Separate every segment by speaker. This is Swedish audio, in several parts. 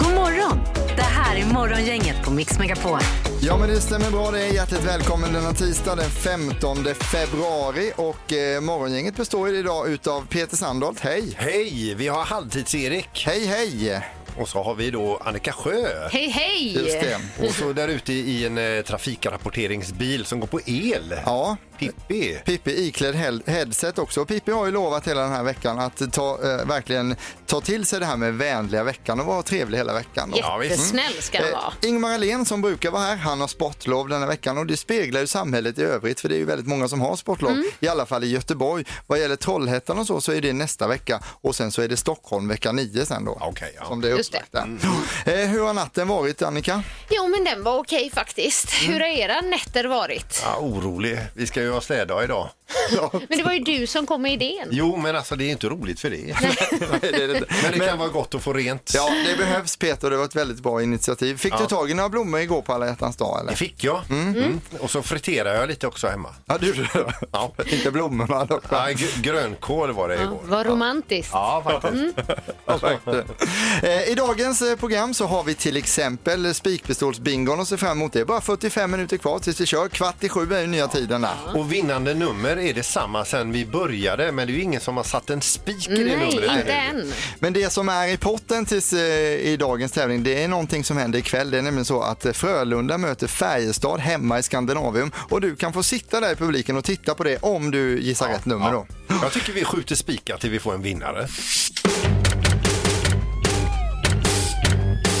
Speaker 1: God morgon! Det här är Morgongänget på Mix Megapol.
Speaker 2: Ja men det stämmer bra det. är Hjärtligt välkommen denna tisdag den 15 februari och eh, morgongänget består ju idag utav Peter Sandholt. Hej!
Speaker 3: Hej! Vi har Halvtids-Erik
Speaker 2: Hej hej!
Speaker 3: och så har vi då Annika Sjö.
Speaker 1: Hej, hej!
Speaker 2: Just det.
Speaker 3: Och så där ute i en eh, trafikrapporteringsbil som går på el.
Speaker 2: Ja.
Speaker 3: Pippi.
Speaker 2: Pippi iklädd he- headset också. Och Pippi har ju lovat hela den här veckan att ta, eh, verkligen ta till sig det här med vänliga veckan och vara trevlig hela veckan. då.
Speaker 3: Ja, visst.
Speaker 4: Jättesnäll ska han vara.
Speaker 2: Eh, Ingmar Ahlén som brukar vara här, han har sportlov den här veckan och det speglar ju samhället i övrigt för det är ju väldigt många som har sportlov,
Speaker 4: Mm.
Speaker 2: i alla fall i Göteborg. Vad gäller Trollhättan och så, så är det nästa vecka och sen så är det Stockholm vecka 9 sen då.
Speaker 3: Okej, ja.
Speaker 2: Som det är
Speaker 4: Just det.
Speaker 2: upplagt där. Eh, hur har natten varit Annika?
Speaker 4: Jo, men den var okej faktiskt.
Speaker 5: Mm.
Speaker 4: Hur har era nätter varit?
Speaker 3: Ja, orolig. Vi ska ju ha städdag idag.
Speaker 2: Mm.
Speaker 4: Men det var ju du som kom med idén.
Speaker 3: Jo, men alltså det är inte roligt för det.
Speaker 2: Nej, det är det inte.
Speaker 3: Men det kan vara gott att få rent.
Speaker 2: Ja, det behövs Peter, det var ett väldigt bra initiativ. Fick du tag i några blommor igår på alla hjärtans dag
Speaker 3: Det
Speaker 2: eller?
Speaker 3: fick jag. Mm. Och så friterar jag lite också hemma.
Speaker 2: Ja, du
Speaker 3: Ja.
Speaker 2: Inte blommorna dock.
Speaker 3: Ja, gr- grönkål var det igår.
Speaker 4: Vad romantiskt. Mm.
Speaker 3: Ja, faktiskt.
Speaker 2: Eh, I dagens eh, program så har vi till exempel spikpistolsbingon att se fram emot. Det är bara 45 minuter kvar tills vi kör. Kvart i sju är ju nya tiden där.
Speaker 3: Och vinnande nummer är detsamma sen vi började, men det är ju ingen som har satt en spik i
Speaker 4: Nej,
Speaker 3: det numret.
Speaker 4: inte än.
Speaker 2: Men det som är i potten tills, eh, i dagens tävling det är någonting som händer ikväll. Det är nämligen så att eh, Frölunda möter Färjestad hemma i Skandinavium och du kan få sitta där i publiken och titta på det om du gissar rätt nummer då.
Speaker 3: Jag tycker vi skjuter spikar till vi får en vinnare.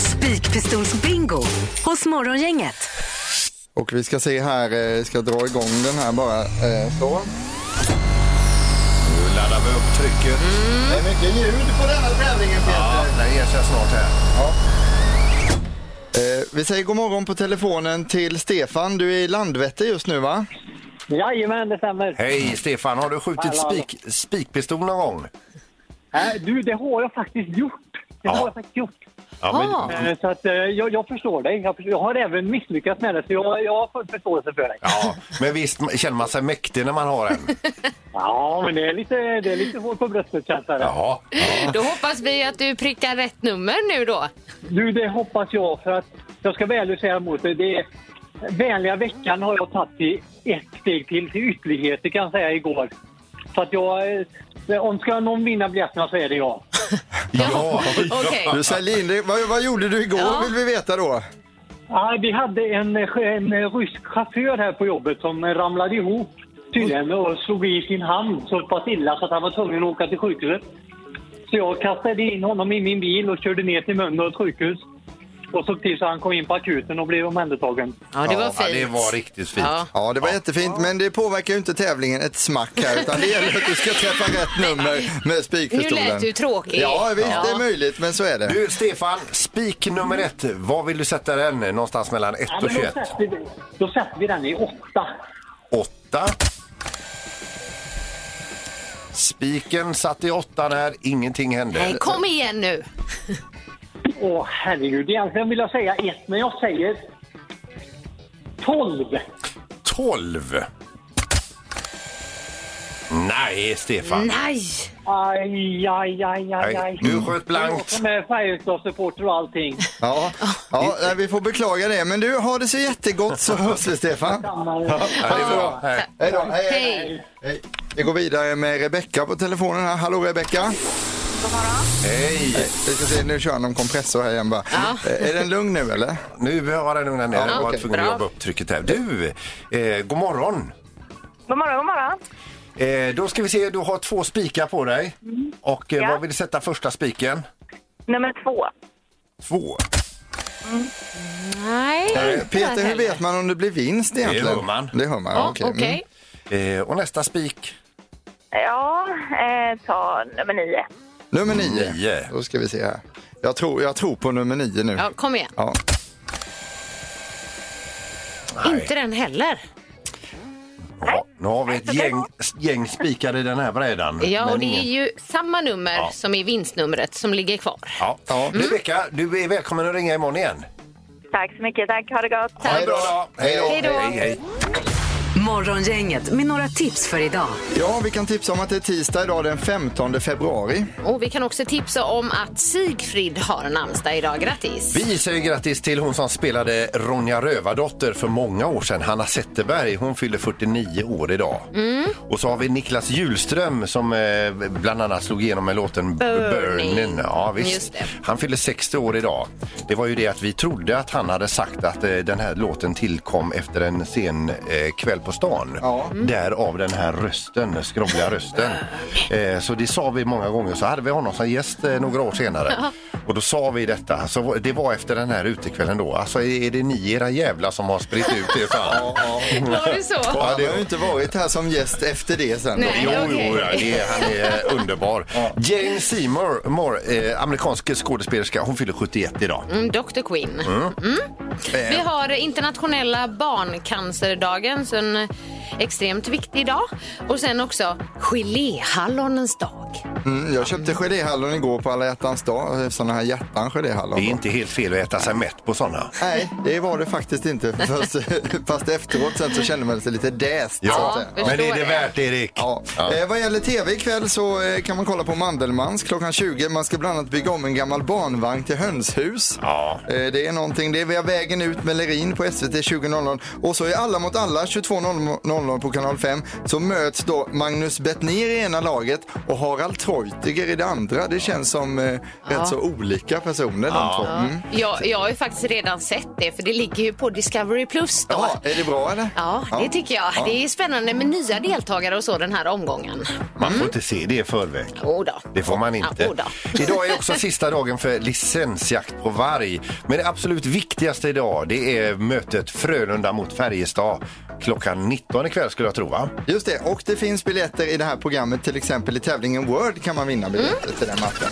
Speaker 1: Spikpistolsbingo hos Morgongänget.
Speaker 2: Och vi ska se här, eh, ska dra igång den här bara. eh, Så.
Speaker 3: Nu laddar vi upp trycket.
Speaker 2: Det är mycket ljud på denna tävlingen Peter.
Speaker 3: Ja, den ger sig snart här.
Speaker 2: Eh, Vi säger god morgon på telefonen till Stefan. Du är i Landvetter just nu va?
Speaker 6: Jajamän, det stämmer.
Speaker 3: Hej Stefan, har du skjutit
Speaker 6: Hallå.
Speaker 3: spik, spikpistol någon gång?
Speaker 6: Äh, du, det har jag faktiskt gjort. Det
Speaker 3: Ja.
Speaker 6: har jag faktiskt gjort.
Speaker 3: Ja, men,
Speaker 6: Eh, Så att, eh, jag, jag förstår dig. Jag, förstår, jag har även misslyckats med det, så jag, jag har full förståelse för dig.
Speaker 3: ja, men visst man- känner man sig mäktig när man har en?
Speaker 6: Ja, men det är lite, det är lite hårt på bröstet känns det.
Speaker 3: Ja.
Speaker 4: Då hoppas vi att du prickar rätt nummer nu då.
Speaker 6: Du, det hoppas jag, för att jag ska väl säga emot dig. Det är, vänliga veckan har jag tagit till ett steg till, till ytterligheter kan jag säga igår. Så att jag, eh, om ska någon vinna biljetterna så är det jag.
Speaker 3: ja.
Speaker 4: Okej.
Speaker 2: Du säljer in dig. Vad, vad gjorde du igår
Speaker 4: Ja.
Speaker 2: vill vi veta då?
Speaker 6: Ja, vi hade en, eh, en rysk chaufför här på jobbet som eh, ramlade ihop tydligen och slog i sin hand så pass illa så att han var tvungen att åka till sjukhuset. Så jag kastade in honom i min bil och körde ner till Mölndals sjukhus och såg till så han kom in på akuten och blev omhändertagen.
Speaker 4: Ja, det var
Speaker 3: Ja,
Speaker 4: fint.
Speaker 3: det var riktigt fint.
Speaker 4: Ja.
Speaker 2: Ja, det var jättefint, men det påverkar ju inte tävlingen ett smack här, utan det gäller att du ska träffa rätt nummer med
Speaker 4: Nu
Speaker 2: spikpistolen.
Speaker 4: lät du tråkig.
Speaker 2: Ja, visst, det är möjligt, men så är det.
Speaker 3: Du Stefan, spik nummer ett. Var vill du sätta den? Någonstans mellan 1
Speaker 6: Ja,
Speaker 3: och
Speaker 6: men då,
Speaker 3: 21?
Speaker 6: sätter vi, då sätter vi den i åtta.
Speaker 3: 8. Spiken satt i åttan här, ingenting hände.
Speaker 4: Nej, kom igen nu.
Speaker 6: Åh herregud, egentligen vill jag säga ett, men jag säger tolv.
Speaker 3: 12. Nej, Stefan.
Speaker 4: Nej!
Speaker 6: Aj, aj, aj, aj,
Speaker 3: Nej,
Speaker 6: aj.
Speaker 3: du sköt blankt.
Speaker 6: Som är Färjestadssupporter och allting.
Speaker 2: Ja, ja nej, vi får beklaga det, men du har det så jättegott så hörs vi Stefan.
Speaker 3: Ja, det är bra. Nej.
Speaker 2: Hej då. Hej, hej.
Speaker 4: Hej!
Speaker 2: hej. Vi går vidare med Rebecka på telefonen här. Hallå Rebecka!
Speaker 3: Hej!
Speaker 2: Vi ska se, nu kör han om kompressor här igen bara. Eh, Är den lugn nu eller?
Speaker 3: Nu har den lugnat ner. Jag var
Speaker 2: okej.
Speaker 3: tvungen att
Speaker 4: Bra.
Speaker 3: jobba upp trycket här. Du, eh, god morgon.
Speaker 7: God morgon, god morgon.
Speaker 3: Eh, då ska vi se, du har två spikar på dig. Och eh, vad vill du sätta första spiken?
Speaker 7: Nummer två.
Speaker 3: Två.
Speaker 4: Nej.
Speaker 2: Eh, Peter, hur vet man om det blir vinst egentligen?
Speaker 3: hör man.
Speaker 2: Det hör man,
Speaker 4: Ja,
Speaker 2: okej.
Speaker 4: Okej.
Speaker 2: Mm.
Speaker 3: Eh, och nästa spik?
Speaker 7: Ja, eh, ta nummer nio.
Speaker 2: Nummer nio.
Speaker 3: Nio.
Speaker 2: Då ska vi se här. Jag tror, jag tror på nummer nio nu.
Speaker 4: Ja, kom igen.
Speaker 2: Ja.
Speaker 4: Inte den heller.
Speaker 3: Ja, nu har vi ett gäng, gäng spikar i den här brädan.
Speaker 4: Ja, och
Speaker 3: Mm. men
Speaker 4: det är
Speaker 3: ingen-
Speaker 4: ju samma nummer
Speaker 3: Ja.
Speaker 4: som är vinstnumret som ligger kvar.
Speaker 3: Ja. Rebecka, du är välkommen att ringa imorgon igen.
Speaker 7: Tack så mycket, tack. Ha det gott.
Speaker 3: Ha en bra dag. Hej då.
Speaker 4: Hej då.
Speaker 3: Hej, hej.
Speaker 5: Morgongänget med några tips för idag.
Speaker 2: ja, vi kan tipsa om att det är tisdag idag den 15 februari.
Speaker 4: Och vi kan också tipsa om att Sigfrid har namnsdag idag. Grattis!
Speaker 3: Vi säger grattis till hon som spelade Ronja Rövardotter för många år sedan, Hanna Zetterberg. Hon fyller 49 år idag. Och så har vi Niklas Hjulström som eh, bland annat slog igenom med låten
Speaker 4: Burning.
Speaker 3: Burning. Ja, visst.
Speaker 4: Just det.
Speaker 3: Han fyller 60 år idag. Det var ju det att vi trodde att han hade sagt att eh, den här låten tillkom efter en sen eh, kväll på stan. Mm.
Speaker 2: Ja.
Speaker 3: Därav den här rösten, skrovliga rösten. Eh, så det sa vi många gånger. Så hade vi honom som gäst eh, några år senare. Och då sa vi detta. Så det var efter den här utekvällen då. Alltså är det ni era jävla som har spritt ut det? Fan?
Speaker 4: Var det så?
Speaker 2: Och han har ju inte varit här som gäst efter det sen. Då.
Speaker 4: Nej.
Speaker 3: Jo,
Speaker 4: okej.
Speaker 3: jo, ja, det är, han är underbar. Jane Seymour, Moore, eh, amerikansk skådespelerska, hon fyller 71 idag.
Speaker 4: Mm, Dr Quinn.
Speaker 3: Eh,
Speaker 4: Vi har internationella barncancerdagen, så en extremt viktig dag. Och sen också geléhallonens dag.
Speaker 2: Mm, jag köpte geléhallon igår på alla hjärtans dag. Sådana här hjärtan geléhallon.
Speaker 3: Det är inte helt fel att äta sig mätt på sådana.
Speaker 2: Nej, det var det faktiskt inte. Fast, fast efteråt sen så kände man sig lite däst. så att säga.
Speaker 4: förstår
Speaker 3: Men det är det
Speaker 4: det.
Speaker 3: värt, Erik.
Speaker 2: Ja. Eh, vad gäller tv ikväll så eh, kan man kolla på Mandelmans klockan 20. Man ska bland annat bygga om en gammal barnvagn till hönshus.
Speaker 3: Ja.
Speaker 2: Eh, det är någonting. Det är via vägen ut med Lerin på SVT 20.00. Och så är Alla mot alla 22.00 på kanal 5. Så möts då Magnus Bettner i ena laget och Harald Treutiger i det andra. Det känns som eh, rätt så olika personer de två. Mm.
Speaker 4: Jag, jag har ju faktiskt redan sett det, för det ligger ju på Discovery Plus. Då.
Speaker 2: Ja, är det bra eller?
Speaker 4: Ja, det tycker jag.
Speaker 2: Ja.
Speaker 4: Det är spännande med nya deltagare och så den här omgången.
Speaker 3: Man får inte se det i förväg.
Speaker 4: Jo då.
Speaker 3: Det får man inte.
Speaker 4: Mm. Ja, jo då.
Speaker 3: Idag är också sista dagen för licensjakt på varg. Men det absolut viktigaste idag det är mötet Frölunda mot Färjestad klockan 19 ikväll skulle jag tro va?
Speaker 2: Just det, och det finns biljetter i det här programmet. Till exempel i tävlingen Word kan man vinna biljetter till den matchen.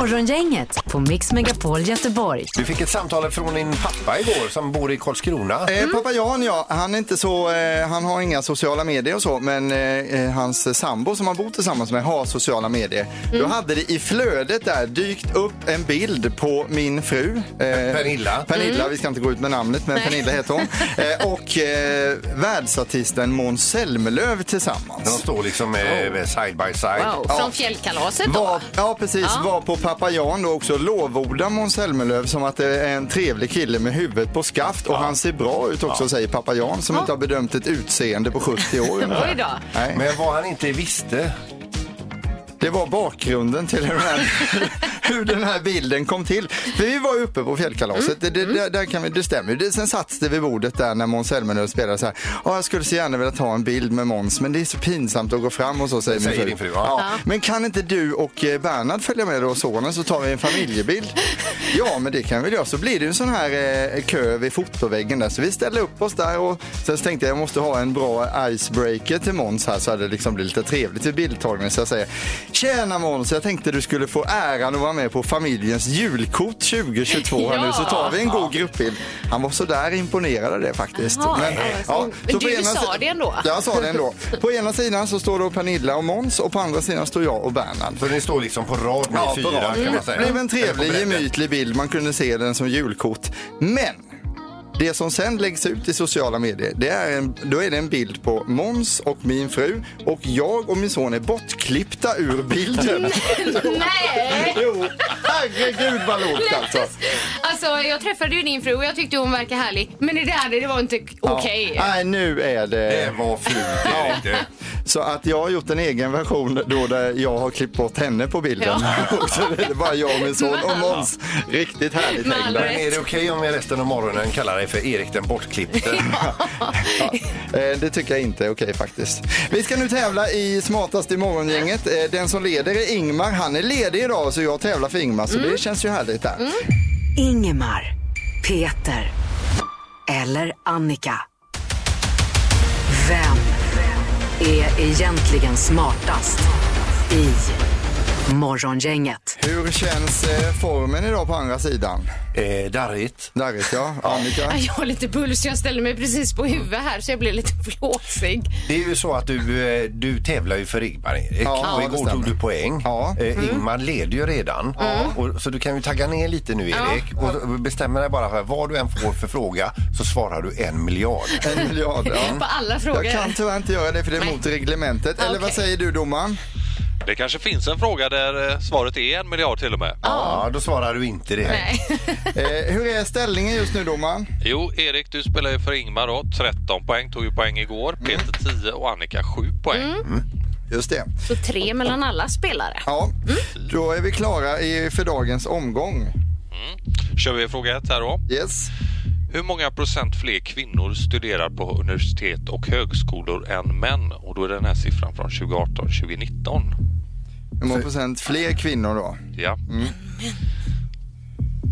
Speaker 5: Morgongänget på Mix Megapol Göteborg.
Speaker 3: Du fick ett samtal från din pappa igår som bor Mm. i Karlskrona.
Speaker 2: Eh, Pappa Jan, ja, han, är inte så, eh, han har inga sociala medier och så, men eh, eh, hans sambo som han bor tillsammans med har sociala medier.
Speaker 3: Mm.
Speaker 2: Då hade det i flödet där dykt upp en bild på min fru. eh,
Speaker 3: Pernilla. Mm.
Speaker 2: Pernilla, vi ska inte gå ut med namnet, men Pernilla heter hon. Eh, och eh, världsartisten Måns Zelmerlöw tillsammans.
Speaker 3: De står liksom eh, side by side.
Speaker 4: Wow.
Speaker 2: Ja.
Speaker 4: Från fjällkalaset då?
Speaker 2: Var, ja, precis.
Speaker 4: Ja.
Speaker 2: Var på pappa Jan då också lovorda Måns Zelmerlöw som att det är en trevlig kille med huvudet på skaft och han ser bra ut också säger pappa Jan som inte har bedömt ett utseende på 70 år. ungefär.
Speaker 4: Oj då.
Speaker 2: Nej.
Speaker 3: Men vad han inte visste.
Speaker 2: Det var bakgrunden till den här, hur den här bilden kom till. För vi var ju uppe på fjällkalaset,
Speaker 3: Mm.
Speaker 2: det, det, där, där kan vi, det stämmer ju. Det- Sen satt det vid bordet där när Måns Zelmerlöw spelade så här. Ja, jag skulle så gärna vilja ta en bild med Måns men det är så pinsamt att gå fram och så säger,
Speaker 3: säger
Speaker 2: min
Speaker 3: din fru, ja.
Speaker 2: Ja. Men kan inte du och eh, Bernhard följa med då, sonen, så tar vi en familjebild? ja, men det kan vi göra. Så blir det ju en sån här eh, kö vid fotoväggen där. Så vi ställer upp oss där och sen så tänkte jag jag måste ha en bra icebreaker till Måns här så hade det liksom blir lite trevligt vid bildtagningen. Så jag säger Tjena Måns, jag tänkte du skulle få äran att vara med på familjens julkort 2022 här nu så tar vi en god gruppbild. Han var så där imponerad av det faktiskt.
Speaker 4: Jaha, ja, men
Speaker 2: så på
Speaker 4: du
Speaker 2: ena
Speaker 4: sa
Speaker 2: sidan-
Speaker 4: det ändå?
Speaker 2: Jag sa det ändå. På ena sidan så står då Pernilla och Måns och på andra sidan står jag och Bernhard.
Speaker 3: Så ni står liksom på rad ni
Speaker 2: Ja,
Speaker 3: fyra
Speaker 2: bra.
Speaker 3: kan man
Speaker 2: Det
Speaker 3: säga.
Speaker 2: blev en trevlig,
Speaker 3: Eller på bredden.
Speaker 2: gemytlig bild. Man kunde se den som julkort. Men det som sen läggs ut i sociala medier, det är en, då är det en bild på Måns och min fru och jag och min son är bortklippta ur bilden.
Speaker 4: Nej!
Speaker 2: jo, herregud vad lågt alltså.
Speaker 4: Alltså, jag träffade ju din fru och jag tyckte hon verkar härlig. Men det där, det var inte k- okej.
Speaker 2: Ja. Nej, nu
Speaker 3: Det
Speaker 2: är det...
Speaker 3: var fult Erik. du.
Speaker 2: Så att jag har gjort en egen version då där jag har klippt bort henne på bilden. och så är det bara jag och min son och Måns. Riktigt härligt
Speaker 4: Med all
Speaker 2: häng där.
Speaker 4: rätt.
Speaker 3: Men är det okej om jag resten av morgonen kallar dig för Erik den bortklippte?
Speaker 2: Eh, Det tycker jag inte är okej faktiskt. Vi ska nu tävla i smartast i morgongänget. Eh, Den som leder är Ingmar. Han är ledig idag så jag tävlar för Ingmar så
Speaker 5: Mm.
Speaker 2: det känns ju härligt där.
Speaker 5: Ingemar, Peter eller Annika. Vem är egentligen smartast i Morgongänget.
Speaker 2: Hur känns eh, formen idag på andra sidan?
Speaker 3: Eh, darrigt.
Speaker 2: Darrigt ja, Annika?
Speaker 4: Ja, Jag har lite puls, jag ställer mig precis på huvudet här så jag blir lite flåsig.
Speaker 3: Det är ju så att du, eh, du tävlar ju för Ingmar. Eh,
Speaker 2: Ja,
Speaker 3: och
Speaker 2: det
Speaker 3: igår
Speaker 2: stämmer.
Speaker 3: tog du poäng.
Speaker 2: Ja. Mm.
Speaker 3: Eh, Ingmar leder ju redan. Och, så du kan ju tagga ner lite nu Erik. Och bestämma dig bara för vad du än får för fråga så svarar du en miljard. Mm.
Speaker 2: En miljard ja.
Speaker 4: På alla frågor.
Speaker 2: Jag kan tyvärr inte göra det för det är
Speaker 4: Nej.
Speaker 2: mot reglementet. Eller vad
Speaker 4: Okej.
Speaker 2: säger du domaren?
Speaker 8: Det kanske finns en fråga där eh, svaret är en miljard till och med.
Speaker 3: Ja, då svarar du inte det.
Speaker 4: Nej.
Speaker 2: Eh, hur är ställningen just nu domaren?
Speaker 8: Jo, Erik, du spelar ju för Ingmar då. 13 poäng, tog ju poäng igår. Peter 10 och Annika 7 poäng.
Speaker 3: Mm.
Speaker 2: Just det.
Speaker 4: Så tre mellan alla spelare.
Speaker 2: Ja, då är vi klara i, för dagens omgång.
Speaker 8: Kör vi fråga ett här då.
Speaker 2: Yes.
Speaker 8: Hur många procent fler kvinnor studerar på universitet och högskolor än män? Och då är den här siffran från 2018 2019.
Speaker 2: Hur många procent fler kvinnor då?
Speaker 8: Ja.
Speaker 3: Mm.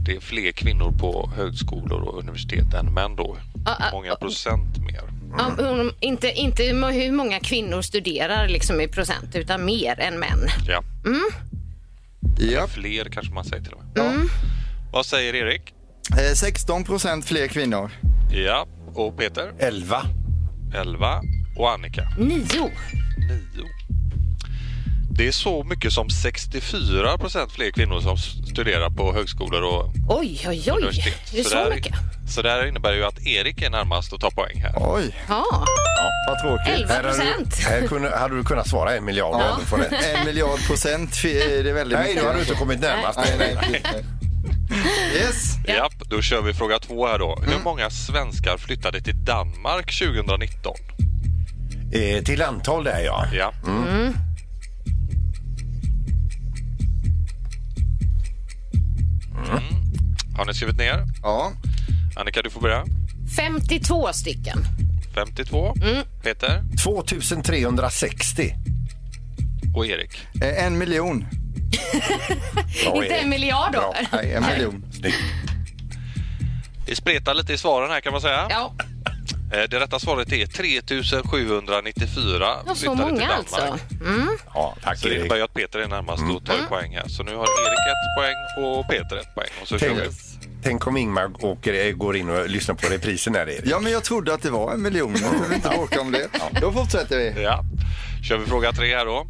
Speaker 8: Det är fler kvinnor på högskolor och universitet än män då.
Speaker 4: Ah, ah,
Speaker 8: Många procent mer.
Speaker 4: Ja, hon- inte, inte hur många kvinnor studerar liksom i procent utan mer än män. Mm,
Speaker 8: Ja.
Speaker 2: Ja.
Speaker 8: Fler kanske man säger till och med. Vad säger Erik?
Speaker 2: Eh, 16 procent fler kvinnor.
Speaker 8: Ja. Och Peter?
Speaker 3: 11.
Speaker 8: 11. Och Annika?
Speaker 4: Nio.
Speaker 8: 9. Det är så mycket som 64 procent fler kvinnor som studerar på högskolor och
Speaker 4: Oj, oj, oj.
Speaker 8: universitet.
Speaker 4: Är det så
Speaker 8: där-
Speaker 4: mycket?
Speaker 8: Så det här innebär ju att Erik är närmast och tar poäng här.
Speaker 2: Oj,
Speaker 4: Ja,
Speaker 2: vad tråkigt.
Speaker 4: 11
Speaker 3: Här hade du-
Speaker 4: procent.
Speaker 3: Här kunde, hade du kunnat svara en miljard om du får rätt.
Speaker 2: En miljard procent, fi- det är väldigt
Speaker 3: Nej,
Speaker 2: mycket.
Speaker 3: då har du inte kommit närmast.
Speaker 2: Nej, nej, precis, nej. Yes. Mm.
Speaker 8: Ja. Japp, då kör vi fråga två här då. Hur många svenskar flyttade till Danmark 2019?
Speaker 3: Eh, till antal där ja.
Speaker 8: Ja. Mm. Har ni skrivit ner?
Speaker 2: Ja.
Speaker 8: Annika, du får börja.
Speaker 4: 52 stycken.
Speaker 8: 52. Peter
Speaker 3: 2360.
Speaker 8: och Erik.
Speaker 2: Eh, En miljon.
Speaker 3: Bra,
Speaker 4: inte
Speaker 3: Erik.
Speaker 4: en miljard
Speaker 3: Bra.
Speaker 4: då.
Speaker 2: Nej, en miljon.
Speaker 3: Snyggt.
Speaker 8: Det spretar lite i svaren här kan man säga.
Speaker 4: Ja,
Speaker 8: Eh, Det rätta svaret är 3794.
Speaker 4: och så
Speaker 8: flyttade till
Speaker 4: många
Speaker 8: Danmark.
Speaker 4: alltså. Mm.
Speaker 3: Ja, tack
Speaker 8: Så det
Speaker 3: Erik.
Speaker 8: innebär ju att Peter är närmast och tar ju poäng här. Så nu har Erik ett poäng och Peter ett poäng. Och så kör
Speaker 3: Tänk,
Speaker 8: vi.
Speaker 3: tänk om Ingmar åker, eh, går in och lyssnar på reprisen här Erik.
Speaker 2: Ja, men jag trodde att det var en miljon. Jag behöver inte bråka om det. Då fortsätter vi.
Speaker 8: Ja. Kör vi fråga tre här då.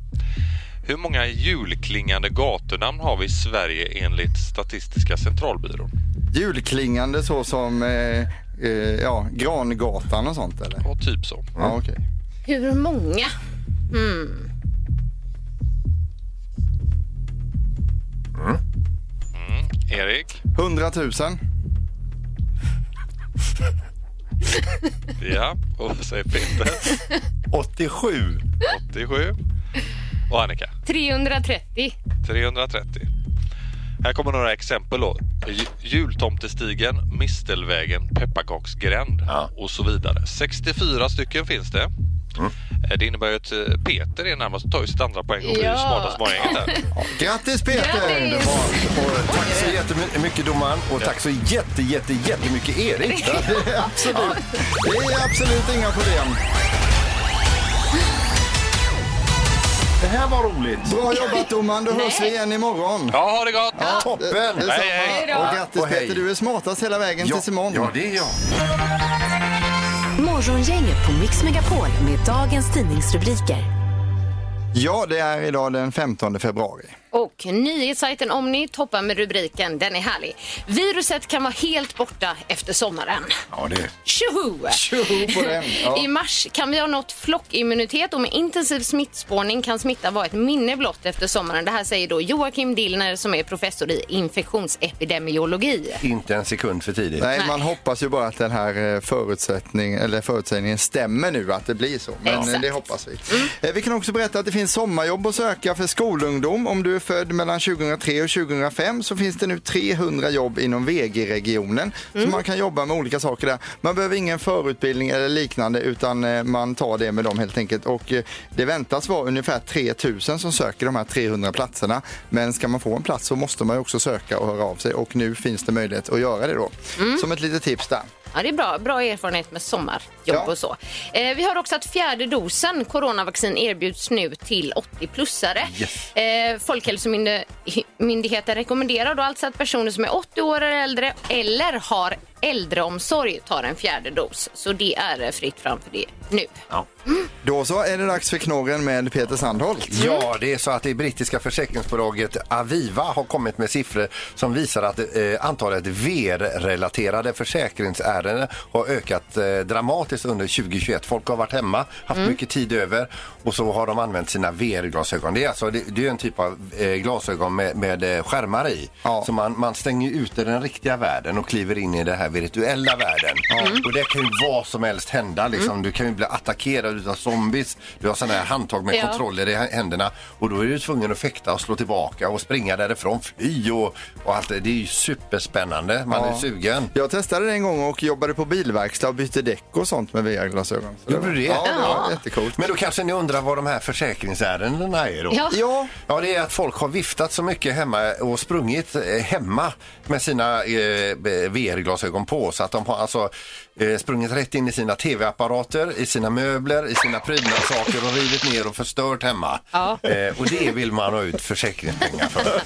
Speaker 8: Hur många julklingande gatunamn har vi i Sverige enligt Statistiska centralbyrån?
Speaker 2: Julklingande så som eh, eh, ja, Grangatan och sånt eller?
Speaker 8: Ja, typ så.
Speaker 2: Ja, okej.
Speaker 4: Hur många? Mm.
Speaker 8: Mm. Erik?
Speaker 2: 100 000.
Speaker 8: Ja. Och vad säger Peter?
Speaker 3: 87.
Speaker 8: 87. Och Annika?
Speaker 4: 330.
Speaker 8: 330. Här kommer några exempel då. Ju- Jultomtestigen, Mistelvägen, Pepparkaksgränd
Speaker 3: Ja.
Speaker 8: och så vidare. 64 stycken finns det. Eh, Det innebär ju att eh, Peter är närmast och tar ju sitt andra poäng och blir
Speaker 4: Ja.
Speaker 8: ju smartast på gänget där.
Speaker 2: Grattis Peter!
Speaker 4: Grattis!
Speaker 3: Och tack så jättemycket domaren och tack så jätte, jätte, jättemycket Erik.
Speaker 2: Det är absolut, det är absolut inga problem.
Speaker 3: Det här var roligt.
Speaker 2: Bra jobbat domaren, då hörs vi igen imorgon.
Speaker 8: Ja, ha det gott!
Speaker 3: Toppen!
Speaker 2: Detsamma.
Speaker 8: Hej, hej.
Speaker 4: Hej då.
Speaker 2: Och grattis
Speaker 3: Och hej.
Speaker 2: Peter, du är smartast hela vägen
Speaker 3: Ja,
Speaker 2: tills imorgon.
Speaker 3: ja, det är jag.
Speaker 5: Morgongänget på Mix Megapol med dagens tidningsrubriker.
Speaker 2: Ja, det är idag den 15 februari.
Speaker 4: Och nyhetssajten Omni toppar med rubriken, den är härlig. Viruset kan vara helt borta efter sommaren.
Speaker 3: Ja, det.
Speaker 4: Tjoho!
Speaker 2: Tjoho på den!
Speaker 4: I
Speaker 2: Ja.
Speaker 4: mars kan vi ha nått flockimmunitet och med intensiv smittspårning kan smitta vara ett minne blott efter sommaren. Det här säger då Joakim Dillner som är professor i infektionsepidemiologi.
Speaker 3: Inte en sekund för tidigt.
Speaker 2: Nej, man hoppas ju bara att den här eh, förutsättning, eller förutsägningen stämmer nu, att det blir så. Men eh,
Speaker 4: Exakt.
Speaker 2: det hoppas vi. Eh, Vi kan också berätta att det finns sommarjobb att söka för skolungdom. Om du är född mellan 2003 och 2005 så finns det nu 300 jobb inom VG-regionen. Så man kan jobba med olika saker där. Man behöver ingen förutbildning eller liknande utan eh, man tar det med dem helt enkelt. Och eh, det väntas vara ungefär 3000 som söker de här 300 platserna. Men ska man få en plats så måste man ju också söka och höra av sig och nu finns det möjlighet att göra det då. Som ett litet tips där.
Speaker 4: Ja, det är bra, bra erfarenhet med sommarjobb
Speaker 2: Ja.
Speaker 4: och så. Eh, vi har också att fjärde dosen coronavaccin erbjuds nu till 80-plussare.
Speaker 3: Yes.
Speaker 4: Eh, Folkhälsomyndigheten rekommenderar då alltså att personer som är 80 år eller äldre eller har äldreomsorg tar en fjärde dos. Så det är eh, fritt fram för det nu.
Speaker 2: Då så är det dags för knorren med Peter Sandholt.
Speaker 3: Ja, det är så att det brittiska försäkringsbolaget Aviva har kommit med siffror som visar att eh, antalet VR-relaterade försäkringsärenden har ökat eh, dramatiskt under 2021. Folk har varit hemma, haft mycket tid över och så har de använt sina VR-glasögon. Det är alltså det, det är en typ av eh, glasögon med, med eh, skärmar i.
Speaker 2: Ja.
Speaker 3: Så man, man stänger ju ute den riktiga världen och kliver in i den här virtuella världen. Och det kan ju vad som helst hända. Liksom. Du kan ju bli attackerad av zombies. Du har sådana här handtag med
Speaker 4: Ja.
Speaker 3: kontroller i händerna och då är du tvungen att fäkta och slå tillbaka och springa därifrån, fly och, och allt det. Det är ju superspännande. Man är sugen.
Speaker 2: Jag testade det en gång och jobbade på bilverkstad och bytte däck och sånt med VR-glasögon. Så
Speaker 3: Gjorde
Speaker 2: var-
Speaker 3: du det?
Speaker 2: Ja, det var jättecoolt.
Speaker 3: Men då kanske ni undrar vad de här försäkringsärendena är då?
Speaker 4: Ja.
Speaker 2: Ja,
Speaker 3: Ja, det är att folk har viftat så mycket hemma och sprungit eh, hemma med sina eh, VR-glasögon på så att de har alltså eh, sprungit rätt in i sina tv-apparater, i sina möbler, i sina prydnadssaker och rivit ner och förstört hemma.
Speaker 4: Ja.
Speaker 3: Eh, och det vill man ha ut försäkringspengar för.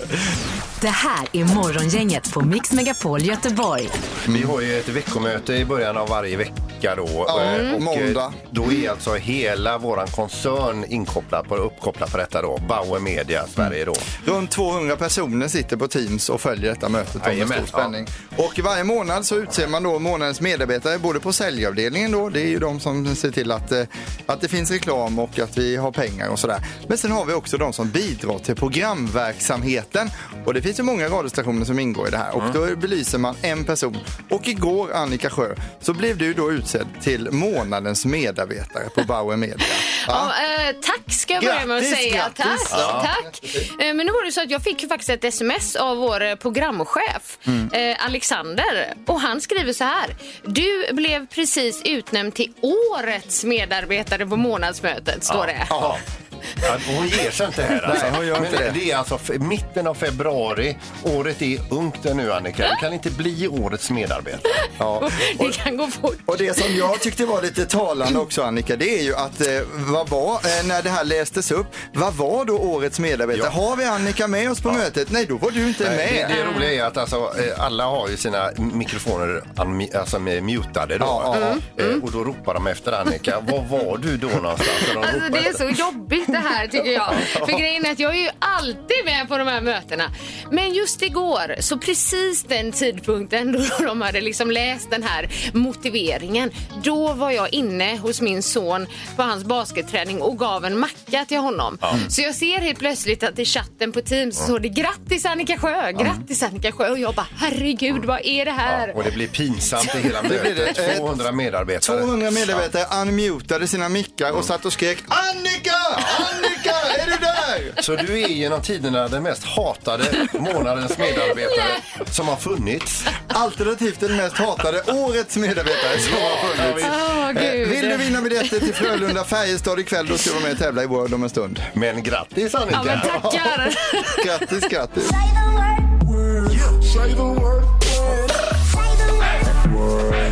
Speaker 5: Det här är Morgongänget på Mix Megapol Göteborg.
Speaker 3: Vi har ju ett veckomöte i början av varje vecka då.
Speaker 2: Ja, Mm.
Speaker 3: eh, eh,
Speaker 2: måndag.
Speaker 3: Då är alltså hela våran koncern inkopplad på, uppkopplad på detta då. Bauer Media Sverige då.
Speaker 2: Runt 200 personer sitter på Teams och följer detta mötet då med
Speaker 3: Jajamän,
Speaker 2: stor
Speaker 3: ja.
Speaker 2: spänning. Och varje månad så utser man då månadens medarbetare både på säljavdelningen då, det är ju de som ser till att, eh, att det finns reklam och att vi har pengar och sådär. Men sen har vi också de som bidrar till programverksamheten och det finns ju många radiostationer som ingår i det
Speaker 3: Mm.
Speaker 2: här och då belyser man en person. Och igår Annika Sjö så blev du då utsedd till månadens medarbetare på Bauer Media.
Speaker 4: Ja.
Speaker 2: Ja.
Speaker 4: eh, tack ska jag börja med att
Speaker 2: Grattis,
Speaker 4: säga.
Speaker 2: grattis.
Speaker 4: Tack, tack. Eh, men nu var det så att jag fick ju faktiskt ett sms av vår eh, programchef
Speaker 2: Mm.
Speaker 4: eh, Alexander och han skriver så här. Du blev precis utnämnd till årets medarbetare på månadsmötet, står det.
Speaker 3: Ja. Ja, Hon ger sig inte här. Alltså.
Speaker 2: Nej, hon gör
Speaker 3: Men
Speaker 2: inte det.
Speaker 3: det är alltså f- mitten av februari. Året är ungt nu, Annika. Du kan inte bli årets medarbetare.
Speaker 2: Ja.
Speaker 4: Det kan gå fort.
Speaker 2: Och det som jag tyckte var lite talande också Annika, det är ju att eh, vad var, eh, när det här lästes upp, vad var då årets medarbetare?
Speaker 3: Ja.
Speaker 2: Har vi Annika med oss på mötet? Nej, då var du inte
Speaker 3: Nej,
Speaker 2: med.
Speaker 3: Det, det roliga är att alltså, eh, alla har ju sina mikrofoner unmi- alltså, med- mutade då.
Speaker 2: Ja, ja, Mm.
Speaker 3: Eh, Och då ropar de efter Annika. Var var du då någonstans? Och de
Speaker 4: Alltså,
Speaker 3: ropar
Speaker 4: det är
Speaker 3: efter-
Speaker 4: så jobbigt det här tycker jag. För grejen är att jag är ju alltid med på de här mötena. Men just igår, så precis den tidpunkten då de hade liksom läst den här motiveringen, då var jag inne hos min son på hans basketträning och gav en macka till honom.
Speaker 2: Mm.
Speaker 4: Så jag ser helt plötsligt att i chatten på Teams så står det grattis Annika Sjö, grattis Annika Sjö och jag bara herregud vad är det här?
Speaker 3: Ja, och det blir pinsamt i hela
Speaker 2: Det blir det.
Speaker 3: mötet.
Speaker 2: Eh,
Speaker 3: 200 medarbetare.
Speaker 2: 200 medarbetare unmutade sina mickar och satt och skrek Annika! Annika! Är du där?
Speaker 3: Så du är genom tiderna den mest hatade månadens medarbetare som har funnits.
Speaker 2: Alternativt den mest hatade årets medarbetare som har funnits.
Speaker 4: Åh,
Speaker 2: Eh,
Speaker 4: Gud.
Speaker 2: Vill du vinna biljetter till Frölunda Färjestad ikväll då ska du vara med och tävla i World om en stund.
Speaker 3: Men grattis Annika!
Speaker 4: Ja men tackar!
Speaker 2: Grattis, grattis.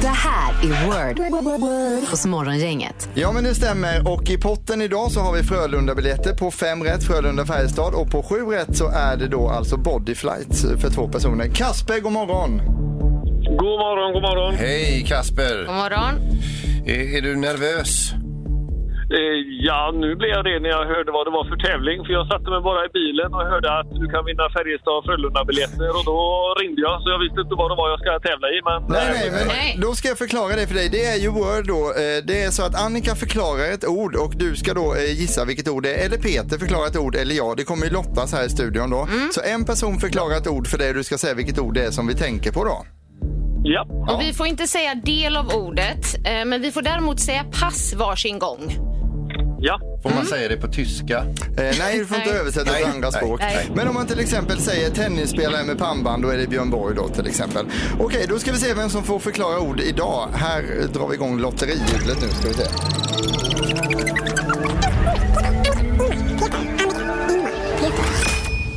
Speaker 5: Det här är Word hos Morgongänget.
Speaker 2: Ja men det stämmer och i potten idag så har vi Frölunda-biljetter på fem rätt Frölunda-Färjestad och på sju rätt så är det då alltså bodyflight för två personer. Kasper, god morgon!
Speaker 9: God morgon, god morgon.
Speaker 3: Hej Kasper!
Speaker 4: God morgon.
Speaker 3: Är, är du nervös?
Speaker 9: Eh, ja, nu blev jag det när jag hörde vad det var för tävling. För jag satte mig bara i bilen och hörde att du kan vinna Färjestad Frölunda-biljetter. Och då ringde jag, så jag visste inte vad det var jag ska tävla i. Men eh,
Speaker 2: Nej, nej, men
Speaker 4: Nej.
Speaker 2: Eh, då ska jag förklara det för dig. Det är ju Word då. Eh, Det är så att Annika förklarar ett ord och du ska då eh, gissa vilket ord det är. Eller Peter förklarar ett ord, eller jag. Det kommer ju lottas här i studion då. Så en person förklarar ett ord för dig och du ska säga vilket ord det är som vi tänker på då.
Speaker 9: ja,
Speaker 2: Ja.
Speaker 4: Och vi får inte säga del av ordet, eh, men vi får däremot säga pass varsin gång.
Speaker 9: ja.
Speaker 3: Får man säga det på tyska?
Speaker 2: Eh, nej, du får inte
Speaker 4: Nej.
Speaker 2: översätta till
Speaker 3: Nej,
Speaker 2: andra
Speaker 3: nej,
Speaker 2: språk.
Speaker 4: nej.
Speaker 2: Men om man till exempel säger tennisspelare med pannband, då är det Björn Borg då till exempel. Okej, då ska vi se vem som får förklara ord idag. Här eh, drar vi igång lotterihjulet nu ska vi se.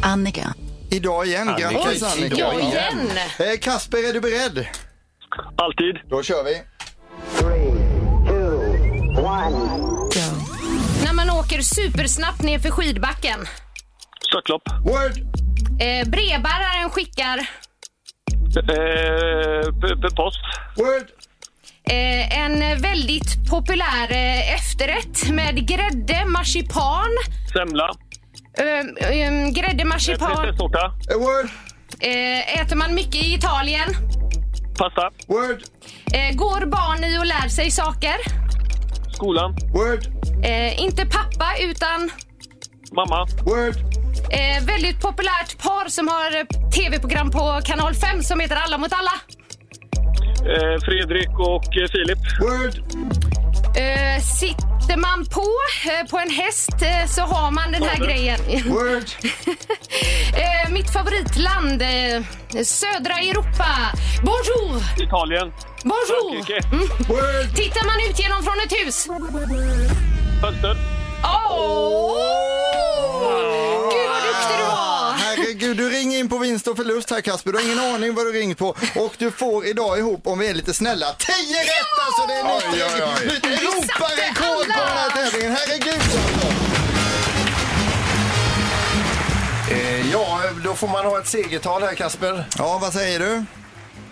Speaker 10: Annika.
Speaker 2: Idag igen,
Speaker 3: Annika,
Speaker 2: grattis Annika.
Speaker 4: Ja, igen!
Speaker 2: Eh, Kasper, är du beredd?
Speaker 9: Alltid.
Speaker 2: Då kör vi.
Speaker 4: När man åker supersnabbt ner för skidbacken.
Speaker 9: Störtlopp.
Speaker 2: Word!
Speaker 4: Eh, brevbäraren skickar
Speaker 9: Eh, p- p- post.
Speaker 2: Word!
Speaker 4: eh, en väldigt populär eh, efterrätt med grädde, marsipan.
Speaker 9: Semla.
Speaker 4: Eh, eh, grädde,
Speaker 9: Eh,
Speaker 4: marsipan.
Speaker 9: Prinsesstårta.
Speaker 2: Eh, Word!
Speaker 4: Eh, äter man mycket i Italien.
Speaker 9: Pasta.
Speaker 2: Word!
Speaker 4: Eh, går barn i och lär sig saker.
Speaker 9: Skolan.
Speaker 2: Word!
Speaker 4: Eh, inte pappa, utan
Speaker 9: Mamma.
Speaker 2: Word!
Speaker 4: eh, väldigt populärt par som har eh, tv-program på kanal 5 som heter Alla mot alla.
Speaker 9: Eh, Fredrik och eh, Filip.
Speaker 2: Word!
Speaker 4: Eh, sitter man på, eh, på en häst eh, så har man den här
Speaker 9: Word.
Speaker 4: grejen.
Speaker 2: Word!
Speaker 4: eh, mitt favoritland, eh, södra Europa. Bonjour!
Speaker 9: Italien.
Speaker 4: Bonjour!
Speaker 9: Frankrike.
Speaker 2: Word!
Speaker 4: Tittar man ut genom från ett hus.
Speaker 9: Fönster.
Speaker 4: Åh! Gud vad duktig du var!
Speaker 2: Herregud, du ringer in på vinst och förlust här Kasper. Du har ingen aning vad du ringt på. Och du får idag ihop, om vi är lite snälla, 10 rätt alltså! Det är nytt,
Speaker 3: Oj, oj, oj.
Speaker 2: nytt Europarekord på den här tävlingen. Herregud alltså.
Speaker 3: Eh, ja, då får man ha ett segertal här Kasper.
Speaker 2: Ja, vad säger du?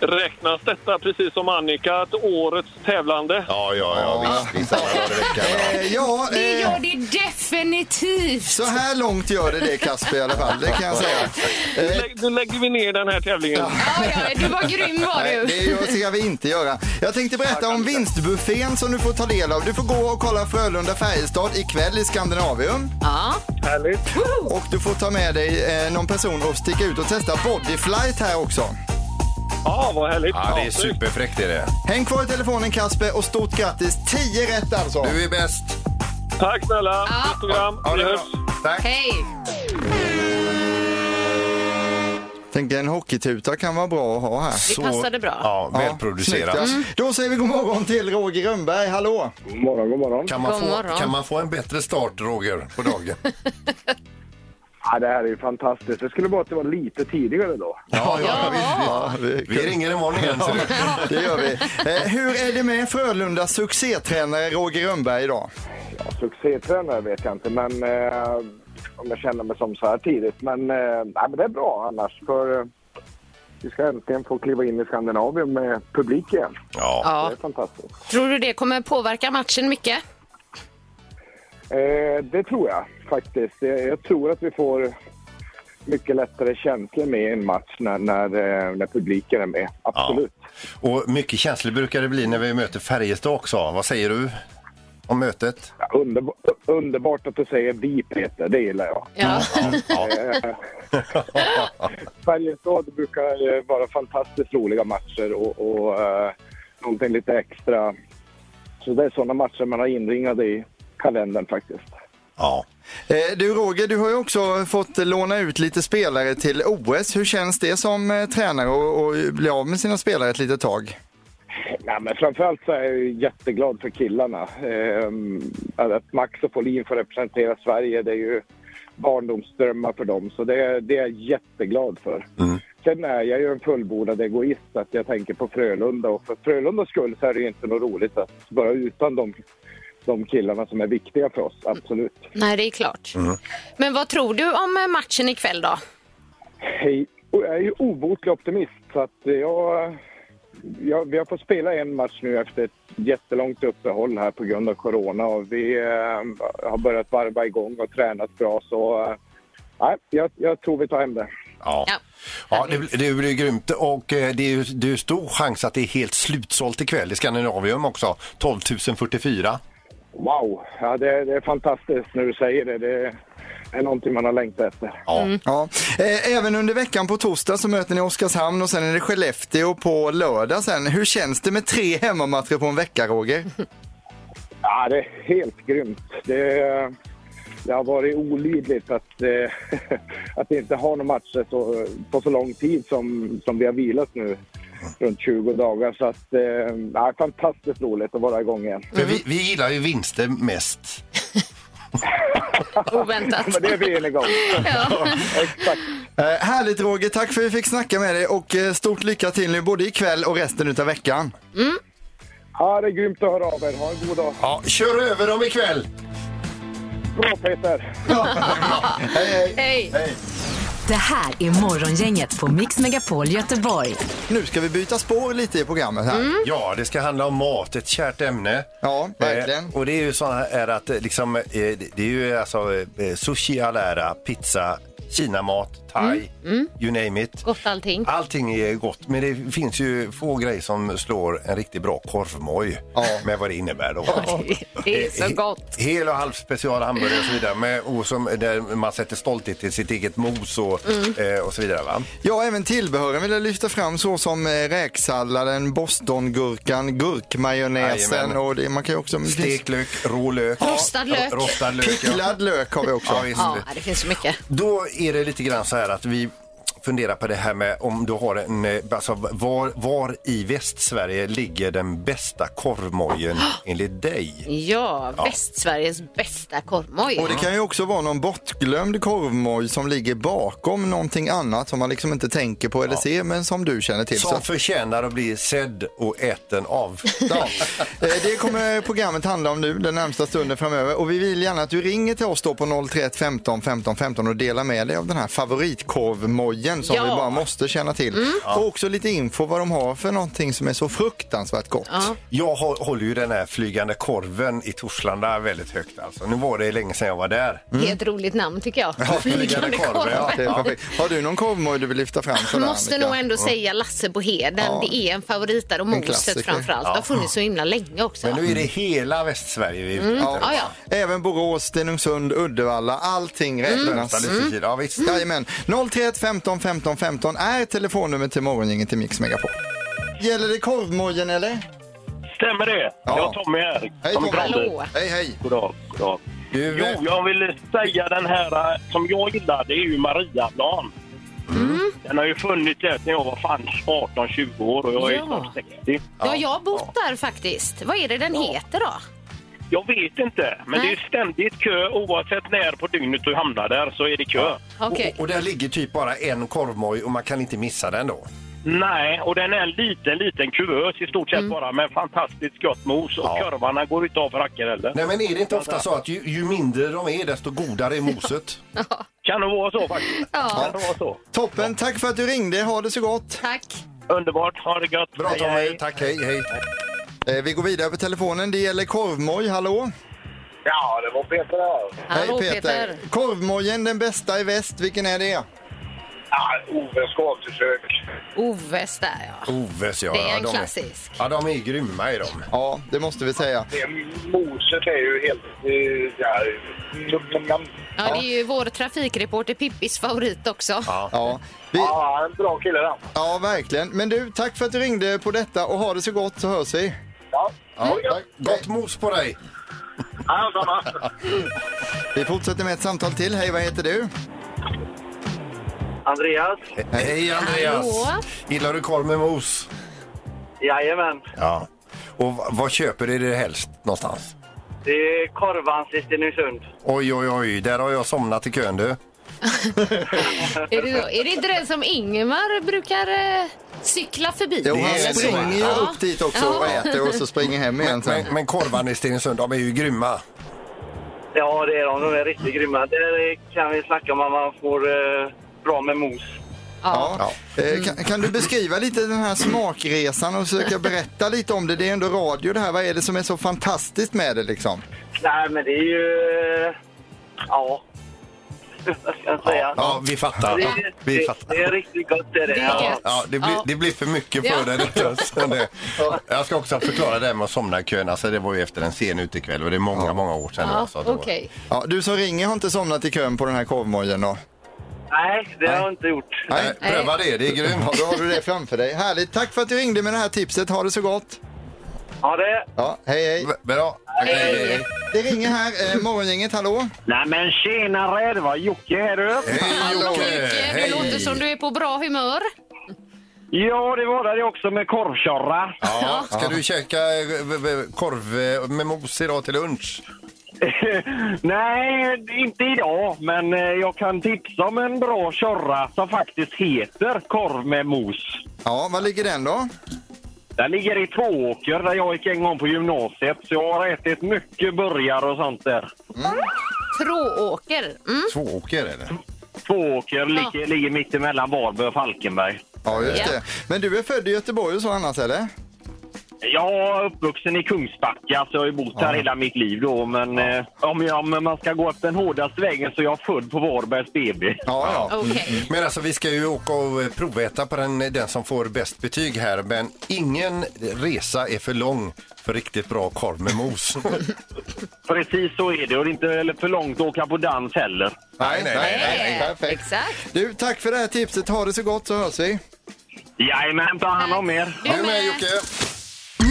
Speaker 9: Räknas detta precis som Annika till årets tävlande?
Speaker 3: Ja, ja, ja, visst. visst alla dagar i veckan, ja.
Speaker 2: Eh, ja,
Speaker 4: Det
Speaker 2: eh,
Speaker 4: gör det definitivt.
Speaker 2: så här långt gör det det Kasper i alla fall, det kan jag säga. Eh,
Speaker 9: Lä- Nu lägger vi ner den här tävlingen.
Speaker 4: Ja, ja, du var grym var
Speaker 2: Nej, det
Speaker 4: du.
Speaker 2: gör- ska vi inte göra. Jag tänkte berätta om vinstbuffén som du får ta del av. Du får gå och kolla Frölunda-Färjestad ikväll i Skandinavium.
Speaker 4: Ja.
Speaker 9: Härligt.
Speaker 2: Och du får ta med dig eh, någon person och sticka ut och testa Bodyflight här också.
Speaker 9: Ja, vad härligt.
Speaker 3: Ja, det är superfräckt är det.
Speaker 2: Häng kvar i telefonen Kasper och stort grattis! 10 rätt alltså!
Speaker 3: Du är bäst.
Speaker 9: Tack snälla. Nytt program.
Speaker 3: Ja, det
Speaker 9: Vi
Speaker 3: är bra.
Speaker 9: hörs.
Speaker 3: Tack.
Speaker 4: Hej!
Speaker 2: Tänkte en hockeytuta kan vara bra att ha här.
Speaker 4: Det passade bra. Mm.
Speaker 3: Ja, välproducerat.
Speaker 2: snyggt, ja. Då säger vi god morgon till Roger Rönnberg, hallå!
Speaker 9: morgon, god morgon.
Speaker 3: Kan man,
Speaker 4: God
Speaker 3: få,
Speaker 4: morgon.
Speaker 3: kan man få en bättre start, Roger, på dagen?
Speaker 9: Ja, det här är ju fantastiskt. Det skulle bara att det var lite tidigare då.
Speaker 3: Ja, ja,
Speaker 2: Ja, det,
Speaker 3: Vi ringer imorgon igen. ser du.
Speaker 2: det gör vi. Eh, hur är det med Frölundas succétränare Roger Rönnberg idag?
Speaker 9: Ja, succétränare vet jag inte, men eh, om jag känner mig som så här tidigt. Men, eh, nej, men det är bra annars, för eh, vi ska äntligen få kliva in i Skandinavien med publik igen.
Speaker 3: Ja.
Speaker 4: Ja.
Speaker 9: Det är fantastiskt.
Speaker 4: Tror du det kommer påverka matchen mycket?
Speaker 9: Eh, det tror jag faktiskt. Jag, jag tror att vi får mycket lättare känslor med i en match när, när, eh, när publiken är med. Absolut.
Speaker 3: Och mycket känslor brukar det bli när vi möter Färjestad också. Vad säger du om mötet?
Speaker 9: Ja, underb- underbart att du säger vi, Peter. Det gillar jag.
Speaker 4: Ja.
Speaker 3: Ja.
Speaker 9: Färjestad brukar eh, vara fantastiskt roliga matcher och, och eh, någonting lite extra. Så det är sådana matcher man har inringade i kalendern faktiskt.
Speaker 3: ja.
Speaker 2: Eh, du Roger, du har ju också fått låna ut lite spelare till OS. Hur känns det som eh, tränare och, och bli av med sina spelare ett litet tag?
Speaker 9: Nej, men framförallt så är jag ju jätteglad för killarna. Ehm, att Max och Paulin får representera Sverige, det är ju barndomsdrömmar för dem. Så det, det är jag jätteglad för. Sen är jag ju en fullbordad egoist, så att jag tänker på Frölunda. Och för Frölundas skull så är det ju inte något roligt att vara utan de, de killarna som är viktiga för oss, absolut.
Speaker 4: Nej, det är klart.
Speaker 2: Mm.
Speaker 4: Men vad tror du om eh, matchen ikväll då?
Speaker 9: Hej. Och Jag är ju obotlig optimist, så att jag, jag... Vi har fått spela en match nu efter ett jättelångt uppehåll här på grund av corona. Och vi eh, har börjat varva igång och tränat bra, så... Eh, nej, jag, jag tror vi tar hem det.
Speaker 3: Ja.
Speaker 4: Ja.
Speaker 3: Ja, det, det blir grymt och eh, det är ju det är ju stor chans att det är helt slutsålt ikväll i Skandinavium också. 12 044.
Speaker 9: Wow! Ja, det, det är fantastiskt när du säger det. Det är någonting man har längtat efter.
Speaker 3: Ja.
Speaker 2: Ja. Eh, Även under veckan på torsdag så möter ni Oskarshamn och sen är det Skellefteå på lördag sen. Hur känns det med tre hemmamatcher på en vecka Roger?
Speaker 9: Ja, det är helt grymt. Det, det har varit olidligt att, eh, att inte ha några matcher så, på så lång tid som, som vi har vilat nu, runt 20 dagar. Så att, eh, ja, fantastiskt roligt att vara igång igen.
Speaker 3: För vi, vi gillar ju vinster mest.
Speaker 4: Oväntat.
Speaker 9: Men det är vi eniga om. Exakt.
Speaker 2: Eh, härligt Roger, tack för att vi fick snacka med dig och eh, stort lycka till nu både ikväll och resten utav veckan.
Speaker 10: Ja, det är grymt att höra av er. Ha en god dag.
Speaker 3: Ja, kör över dem ikväll!
Speaker 10: Bra Peter!
Speaker 4: Hej!
Speaker 5: Det här är Morgongänget på Mix Megapol Göteborg.
Speaker 2: Nu ska vi byta spår lite i programmet här.
Speaker 3: Ja, det ska handla om mat, ett kärt ämne.
Speaker 2: Ja, verkligen.
Speaker 3: Eh, och det är ju så här att eh, liksom, eh, det det är ju alltså eh, sushi all ära, pizza, kinamat, thai,
Speaker 4: Mm.
Speaker 3: you name it.
Speaker 4: Gott allting.
Speaker 3: Allting är gott, men det finns ju få grejer som slår en riktigt bra korvmoj
Speaker 2: Ja.
Speaker 3: med vad det innebär. Då.
Speaker 4: Det är så
Speaker 3: Eh,
Speaker 4: gott.
Speaker 3: he- Hel och halv special hamburgare och så vidare. Med, och som, där man sätter stolthet till sitt eget mos och, eh, och så vidare. Va?
Speaker 2: Ja, även tillbehören vill jag lyfta fram såsom eh, räksalladen, bostongurkan, gurkmajonnäsen
Speaker 3: Jajamän.
Speaker 2: och det, man kan ju också... det finns-
Speaker 3: Stekt lök, rå lök.
Speaker 4: Rostad lök.
Speaker 3: Rostad lök ja.
Speaker 2: Picklad lök har vi också.
Speaker 3: Ja, visst.
Speaker 4: Ja, det finns så mycket.
Speaker 3: Då är det lite grann så här att vi funderar på det här med om du har en, eh, alltså var, var i Västsverige ligger den bästa korvmojen enligt dig?
Speaker 4: Ja, Västsveriges bästa korvmoj.
Speaker 2: Och det kan ju också vara någon bortglömd korvmoj som ligger bakom någonting annat som man liksom inte tänker på eller ser men som du känner till. Så
Speaker 3: Som
Speaker 2: att,
Speaker 3: förtjänar att bli sedd och äten av.
Speaker 2: ja. Eh, Det kommer programmet handla om nu den närmsta stunden framöver och vi vill gärna att du ringer till oss då på 031 15 15 15 och delar med dig av den här favoritkorvmojen som
Speaker 4: Ja. Mm.
Speaker 2: vi bara måste känna till. Och också lite info vad de har för någonting som är så fruktansvärt gott.
Speaker 4: Ja.
Speaker 3: Jag hå- håller ju den här flygande korven i Torslanda väldigt högt alltså. Nu var det länge sedan jag var där.
Speaker 2: Mm.
Speaker 4: Det är ett roligt namn tycker jag.
Speaker 3: flygande korv, ja.
Speaker 2: Det är perfekt. Har du någon korvmoj du vill lyfta fram?
Speaker 4: Jag
Speaker 2: sådär,
Speaker 4: måste
Speaker 2: Annika?
Speaker 4: nog ändå säga Lasse på Heden. Det är en favorit där och
Speaker 2: klassiker.
Speaker 4: moset framförallt. Det har funnits så himla länge också. Mm.
Speaker 3: Men nu är det hela Västsverige vi är ute efter.
Speaker 4: Ja, ja. Mm.
Speaker 2: Även Borås, Stenungsund, Uddevalla, allting räknas.
Speaker 3: Vänta lite tid. Ja, visst.
Speaker 2: Jajamän. 031 15 15 15 är telefonnumret till morgongänget till Mix Megapol. Gäller det korvmojen eller?
Speaker 10: Stämmer det?
Speaker 2: Ja.
Speaker 10: Jag Tommy här. Tommy
Speaker 2: Hej Tommy!
Speaker 10: Brander.
Speaker 4: Hallå.
Speaker 2: Hej hej!
Speaker 10: God dag, god dag.
Speaker 3: Du,
Speaker 10: Jo,
Speaker 3: eh,
Speaker 10: jag vill säga den här eh, som jag gillar, det är ju Mariaplan.
Speaker 2: Mm.
Speaker 10: Den har ju funnits där sedan jag var fan 18-20 år och jag är
Speaker 4: Ja.
Speaker 10: snart 60.
Speaker 4: Ja, jag har bott där faktiskt. Vad är det den heter då?
Speaker 10: Jag vet inte, men
Speaker 4: Nej.
Speaker 10: det är ständigt kö oavsett när på dygnet du hamnar där så är det kö.
Speaker 4: Okej.
Speaker 3: och, och där ligger typ bara en korvmoj och man kan inte missa den då.
Speaker 10: Nej, och den är en liten, liten kuvös i stort sett
Speaker 4: Mm.
Speaker 10: bara med fantastiskt gott mos och
Speaker 3: Ja.
Speaker 10: korvarna går inte av för rackare heller.
Speaker 3: Nej men är det inte ofta så att ju, ju mindre de är desto godare är moset?
Speaker 10: Kan det vara så faktiskt? Kan det vara så?
Speaker 2: Toppen, tack för att du ringde. Ha det så gott.
Speaker 4: Tack.
Speaker 10: Underbart, ha det gött!
Speaker 3: Bra
Speaker 10: Hej,
Speaker 3: Tommy,
Speaker 10: hej.
Speaker 3: tack hej hej.
Speaker 2: Eh, vi går vidare på telefonen. Det gäller korvmoj. Hallå?
Speaker 10: Ja, det var Peter här.
Speaker 4: Hallå Peter.
Speaker 2: Korvmojen, den bästa i väst. Vilken är det?
Speaker 10: Ja, Ove Skavsesök.
Speaker 4: Oves där ja.
Speaker 3: Oves ja.
Speaker 4: Det är
Speaker 3: ja,
Speaker 4: en
Speaker 3: de
Speaker 4: klassisk.
Speaker 3: Ja de är grymma i dem.
Speaker 2: Ja, det måste vi säga.
Speaker 10: Moset är ju helt... eh, Ja, mm, mm,
Speaker 4: Ja, det är ju vår trafikreporter Pippis favorit också.
Speaker 2: Ja, vi,
Speaker 10: ja, en bra kille där.
Speaker 2: ja, verkligen. Men du, tack för att du ringde på detta och ha det så gott så hörs vi.
Speaker 10: Ja, Mm.
Speaker 3: Ja, tack. Gott mos på dig.
Speaker 10: ja samma.
Speaker 2: Vi fortsätter med ett samtal till. Hej, vad heter du?
Speaker 10: Andreas?
Speaker 3: Hej Andreas.
Speaker 4: Hallå.
Speaker 3: Gillar du korv med mos?
Speaker 10: Jajamän.
Speaker 3: Ja. Och v- vad köper du det helst någonstans?
Speaker 10: Det är Korvans i Stenungsund.
Speaker 3: Oj oj oj, där har jag somnat i kön du.
Speaker 4: Är, det så? är det inte den som Ingemar brukar eh, cykla förbi?
Speaker 2: Jo, han
Speaker 3: Det är så.
Speaker 2: springer ju upp dit också och äter och så springer hem igen sen.
Speaker 3: Men, men korvarna i Stenungsund, de är ju grymma.
Speaker 10: Ja, det är de. De är riktigt grymma. Där kan vi snacka om att man får eh, bra med mos.
Speaker 4: Ja.
Speaker 2: Ja. Eh, Kan, kan du beskriva lite den här smakresan och försöka berätta lite om det? Det är ändå radio det här. Vad är det som är så fantastiskt med det liksom?
Speaker 10: Nej, men det är ju... eh, Ja. Vad ska jag säga?
Speaker 3: Ja, vi fattar.
Speaker 10: Det, är-
Speaker 3: Vi
Speaker 10: det,
Speaker 3: fattar.
Speaker 10: det är riktigt gott. Det är det.
Speaker 4: Det är gött.
Speaker 3: Ja, det blir,
Speaker 4: Ja.
Speaker 3: det blir för mycket
Speaker 4: Ja.
Speaker 3: för dig. detta. Så det- Jag ska också förklara det här med att somna i kön. Alltså, det var ju efter en sen utekväll och det är många, många år sedan. nu,
Speaker 4: Ja,
Speaker 3: alltså, att det
Speaker 4: okej.
Speaker 3: var-
Speaker 2: Ja, du som ringer har inte somnat i kön på den här korvmojen då?
Speaker 10: Nej, det har jag inte gjort.
Speaker 2: Nej.
Speaker 3: Nej, pröva det, det är grymt.
Speaker 2: Ja, då har du det framför dig. Härligt. Tack för att du ringde med det här tipset. Ha det så gott.
Speaker 10: Ja, det...
Speaker 2: Ja, hej hej.
Speaker 3: Bra. Okej, hej, hej.
Speaker 2: Eh, Det ringer här, eh, morgongänget, hallå?
Speaker 10: Nej, men tjenare! Det var Jocke här du.
Speaker 3: Hej
Speaker 4: Hallå Jocke, du
Speaker 3: Hej.
Speaker 4: Eh, låter som du är på bra humör.
Speaker 10: Ja, det var det också med korvkörra.
Speaker 3: Ja, ska du käka eh, v- v- korv eh, med mos idag till lunch?
Speaker 10: Nej, Eh, inte idag. Men eh, jag kan tipsa om en bra körra som faktiskt heter korv med mos.
Speaker 2: Ja, var ligger den då?
Speaker 10: Den ligger i Tvååker där jag gick en gång på gymnasiet. Så jag har ätit mycket burgare och sånt där.
Speaker 2: Mm.
Speaker 4: Trååker. Mm.
Speaker 3: Tvååker är det.
Speaker 10: Tvååker ligger, ligger mitt emellan Varberg och Falkenberg.
Speaker 2: Ja, just det. Men du är född i Göteborg och så annars eller?
Speaker 10: Jag är uppvuxen i Kungsbacka, så jag har ju bott här hela mitt liv. Då, men eh, om, jag, om man ska gå efter den hårdaste vägen så är jag född på Varbergs BB.
Speaker 3: Ja, ja.
Speaker 4: Okej.
Speaker 3: Mm. Men alltså vi ska ju åka och eh, proväta på den, den som får bäst betyg här. Men ingen resa är för lång för riktigt bra korv med mos.
Speaker 10: Precis så är det. Och det är inte eller för långt att åka på dans heller.
Speaker 2: Nej, nej, nej. nej, Perfekt.
Speaker 4: Exakt.
Speaker 2: Du, tack för det här tipset. Ha det så gott så hörs vi.
Speaker 10: Jajamän, ta hand om er.
Speaker 4: Du med.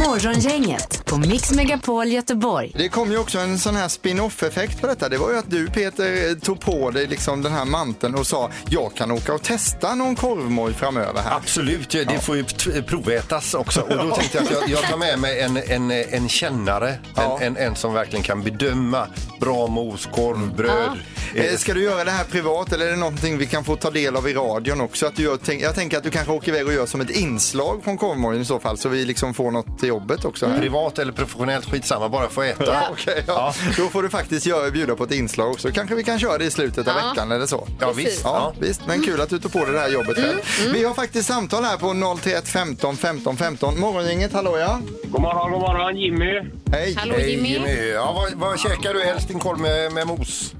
Speaker 5: Morgongänget på Mix Megapol Göteborg.
Speaker 2: Det kom ju också en sån här spin-off-effekt på detta. Det var ju att du Peter eh, tog på dig liksom den här manteln och sa jag kan åka och testa någon korvmoj framöver här.
Speaker 3: Absolut, ja, det får ju t- provätas också. Och då tänkte jag att jag, jag tar med mig en, en, eh, en kännare.
Speaker 2: Ja.
Speaker 3: En, en, en som verkligen kan bedöma bra mos, korv, bröd.
Speaker 2: Mm. Eh, Ska du göra det här privat eller är det någonting vi kan få ta del av i radion också? Att du gör, tänk- jag tänker att du kanske åker iväg och gör som ett inslag från korvmojen i så fall så vi liksom får något till jobbet också. Här.
Speaker 3: Privat eller professionellt, skitsamma, bara få äta.
Speaker 2: Ja, okej, ja. Då får du faktiskt göra, bjuda på ett inslag också. Kanske vi kan köra det i slutet av
Speaker 4: Ja.
Speaker 2: veckan eller så.
Speaker 3: Ja, visst.
Speaker 2: Ja,
Speaker 3: Ja.
Speaker 2: visst. Men kul att du tog på dig det här jobbet
Speaker 3: Mm,
Speaker 2: själv. Mm. Vi har faktiskt samtal här på 031 15 15 15. Morgongänget, hallå ja.
Speaker 10: God morgon, god morgon. Jimmy.
Speaker 2: Hej.
Speaker 4: Hallå
Speaker 3: Hej,
Speaker 4: Jimmy.
Speaker 3: Jimmy. Ja, vad, vad käkar du helst din korv med, med mos?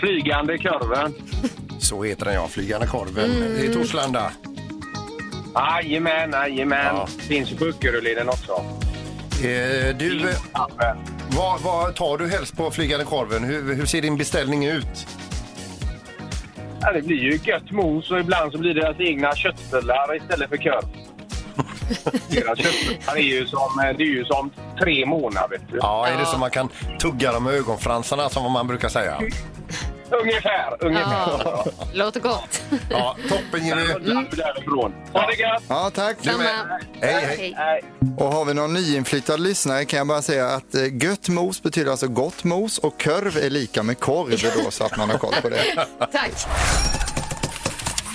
Speaker 10: Flygande korven.
Speaker 3: Så heter den ja, Flygande korven
Speaker 4: Mm.
Speaker 3: i Torslanda.
Speaker 10: Jajamän, jajamän.
Speaker 3: Ja.
Speaker 10: Finns ju på Öckeröleden också.
Speaker 3: Eh, du, eh, vad, vad tar du helst på Flygande korven? Hur, hur ser din beställning ut?
Speaker 10: Ja, det blir ju gött mos och ibland så blir det deras egna köttbullar istället för korv. deras köttbullar är ju som, eh, det är ju som tre månader, vet du.
Speaker 3: Ja, är det som man kan tugga dem med ögonfransarna som man brukar säga?
Speaker 10: Ungefär, ungefär.
Speaker 4: Ja, låter gott.
Speaker 3: Ja, toppen Jimmy!
Speaker 10: Mm. Därifrån. Ha det gött!
Speaker 2: Ja, tack.
Speaker 4: Samma.
Speaker 3: Hej, hej.
Speaker 2: Och har vi någon nyinflyttad lyssnare kan jag bara säga att eh, gött mos betyder alltså gott mos och körv är lika med korv då så att man har koll på det.
Speaker 4: Tack.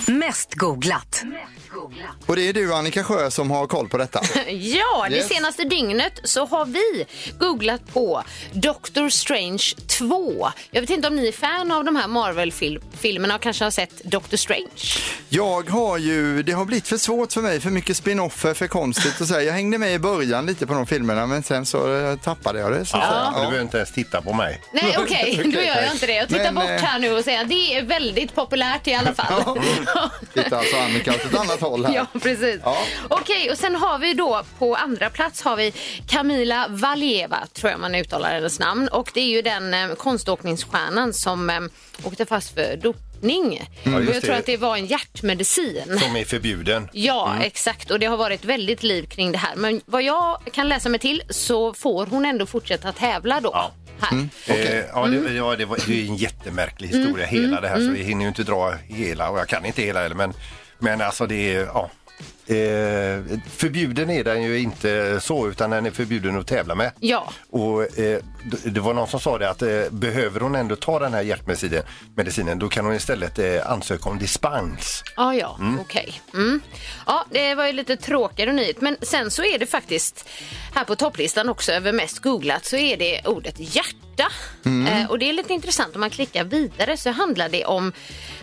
Speaker 5: Mest googlat.
Speaker 2: Och det är du Annika Sjö som har koll på detta.
Speaker 4: Ja,
Speaker 2: Yes.
Speaker 4: det senaste dygnet så har vi googlat på Doctor Strange 2. Jag vet inte om ni är fan av de här Marvel-filmerna och kanske har sett Doctor Strange?
Speaker 2: Jag har ju, det har blivit för svårt för mig, för mycket spin-offer, för konstigt och så här. Jag hängde med i början lite på de filmerna men sen så eh, tappade jag det. Så att
Speaker 3: Du
Speaker 2: säga.
Speaker 3: behöver inte ens titta på mig.
Speaker 4: Nej, okej, då gör jag inte det. Jag tittar
Speaker 2: Men,
Speaker 4: bort
Speaker 2: eh,
Speaker 4: här nu och säger att det är väldigt populärt i alla fall.
Speaker 2: Ja. Titta alltså Annika åt ett annat håll här.
Speaker 4: Ja, precis.
Speaker 2: Ja.
Speaker 4: Okej, och sen har vi då på andra plats har vi Camila Valieva, tror jag man uttalar hennes namn. Och det är ju den eh, konståkningsstjärnan som eh, åkte fast för dopning.
Speaker 3: Mm. just
Speaker 4: och jag tror
Speaker 3: det.
Speaker 4: att det var en hjärtmedicin.
Speaker 3: Som är förbjuden. Mm.
Speaker 4: Ja, exakt. Och det har varit väldigt liv kring det här. Men vad jag kan läsa mig till så får hon ändå fortsätta tävla då.
Speaker 3: Ja.
Speaker 4: Här.
Speaker 3: Eh, ja, det,
Speaker 4: Mm.
Speaker 3: ja, det, var, det är ju en jättemärklig historia, hela det här. Så vi hinner ju inte dra hela, och jag kan inte hela heller, men, men alltså det är... Ja. Eh, förbjuden är den ju inte så, utan den är förbjuden att tävla med.
Speaker 4: Ja.
Speaker 3: Och eh, d- det var någon som sa det att eh, behöver hon ändå ta den här hjärtmedicinen, medicinen, då kan hon istället eh, ansöka om dispens.
Speaker 4: Ah, ja, okej. Mm. Ja, det var ju lite tråkigare nyhet. Men sen så är det faktiskt här på topplistan också över mest googlat så är det ordet hjärta. Eh, och det är lite intressant om man klickar vidare så handlar det om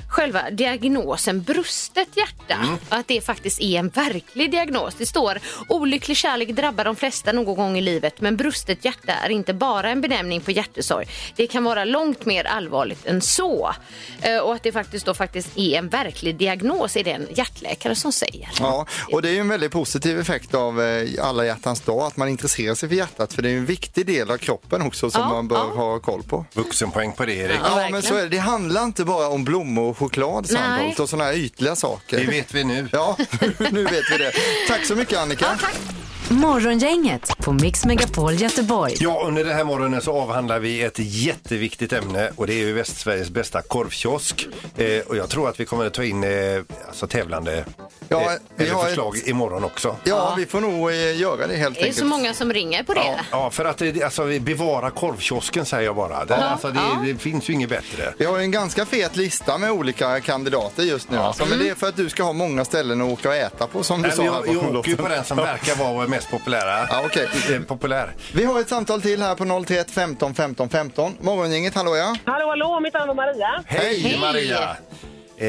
Speaker 4: själva diagnosen brustet hjärta.
Speaker 2: Mm.
Speaker 4: Och att det faktiskt är en verklig diagnos. Det står olycklig kärlek drabbar de flesta någon gång i livet men brustet hjärta är inte bara en benämning på hjärtesorg. Det kan vara långt mer allvarligt än så. Eh, Och att det faktiskt då faktiskt är en verklig diagnos är det en hjärtläkare som säger.
Speaker 2: Ja, och det är ju en väldigt positiv effekt av eh, alla hjärtans dag, att man intresserar sig för hjärtat, för det är ju en viktig del av kroppen också som
Speaker 4: Ja,
Speaker 2: man bör
Speaker 4: ja.
Speaker 2: ha koll på.
Speaker 3: Vuxenpoäng på det, Erik.
Speaker 4: Ja,
Speaker 2: Ja, men
Speaker 4: verkligen.
Speaker 2: så är det. Det handlar inte bara om blommor och choklad Sandholt och sådana här ytliga saker.
Speaker 3: Det vet vi nu.
Speaker 2: Ja, nu vet vi det. Tack så mycket Annika.
Speaker 4: Ja, tack.
Speaker 5: Morgongänget på Mix Megapol Göteborg.
Speaker 3: Ja, under den här morgonen så avhandlar vi ett jätteviktigt ämne och det är ju Västsveriges bästa korvkiosk. Eh, och jag tror att vi kommer att ta in eh, alltså tävlande eh,
Speaker 2: Ja, vi
Speaker 3: eller
Speaker 2: har
Speaker 3: förslag imorgon också.
Speaker 2: Ja, vi får nog eh, göra det helt
Speaker 4: Det är
Speaker 2: enkelt.
Speaker 4: så många som ringer på det.
Speaker 3: Ja, för att det- alltså, vi bevarar korvkiosken säger jag bara. Det,
Speaker 2: Ja.
Speaker 3: alltså, det, det finns ju inget bättre.
Speaker 2: Vi har ju en ganska fet lista med olika kandidater just nu. Alltså, men
Speaker 3: Mm.
Speaker 2: det är för att du ska ha många ställen att åka och äta på som du
Speaker 3: Nej,
Speaker 2: sa.
Speaker 3: men
Speaker 2: här
Speaker 3: jag,
Speaker 2: bakom
Speaker 3: jag åker ju
Speaker 2: låten.
Speaker 3: på den som verkar vara mest populära. Eh,
Speaker 2: Ja, okej.
Speaker 3: Populär.
Speaker 2: Vi har ett samtal till här på 031 15 15 15. Morgongänget, hallå ja.
Speaker 11: Hallå, hallå, mitt namn är Maria.
Speaker 3: Hej, Maria! Eh,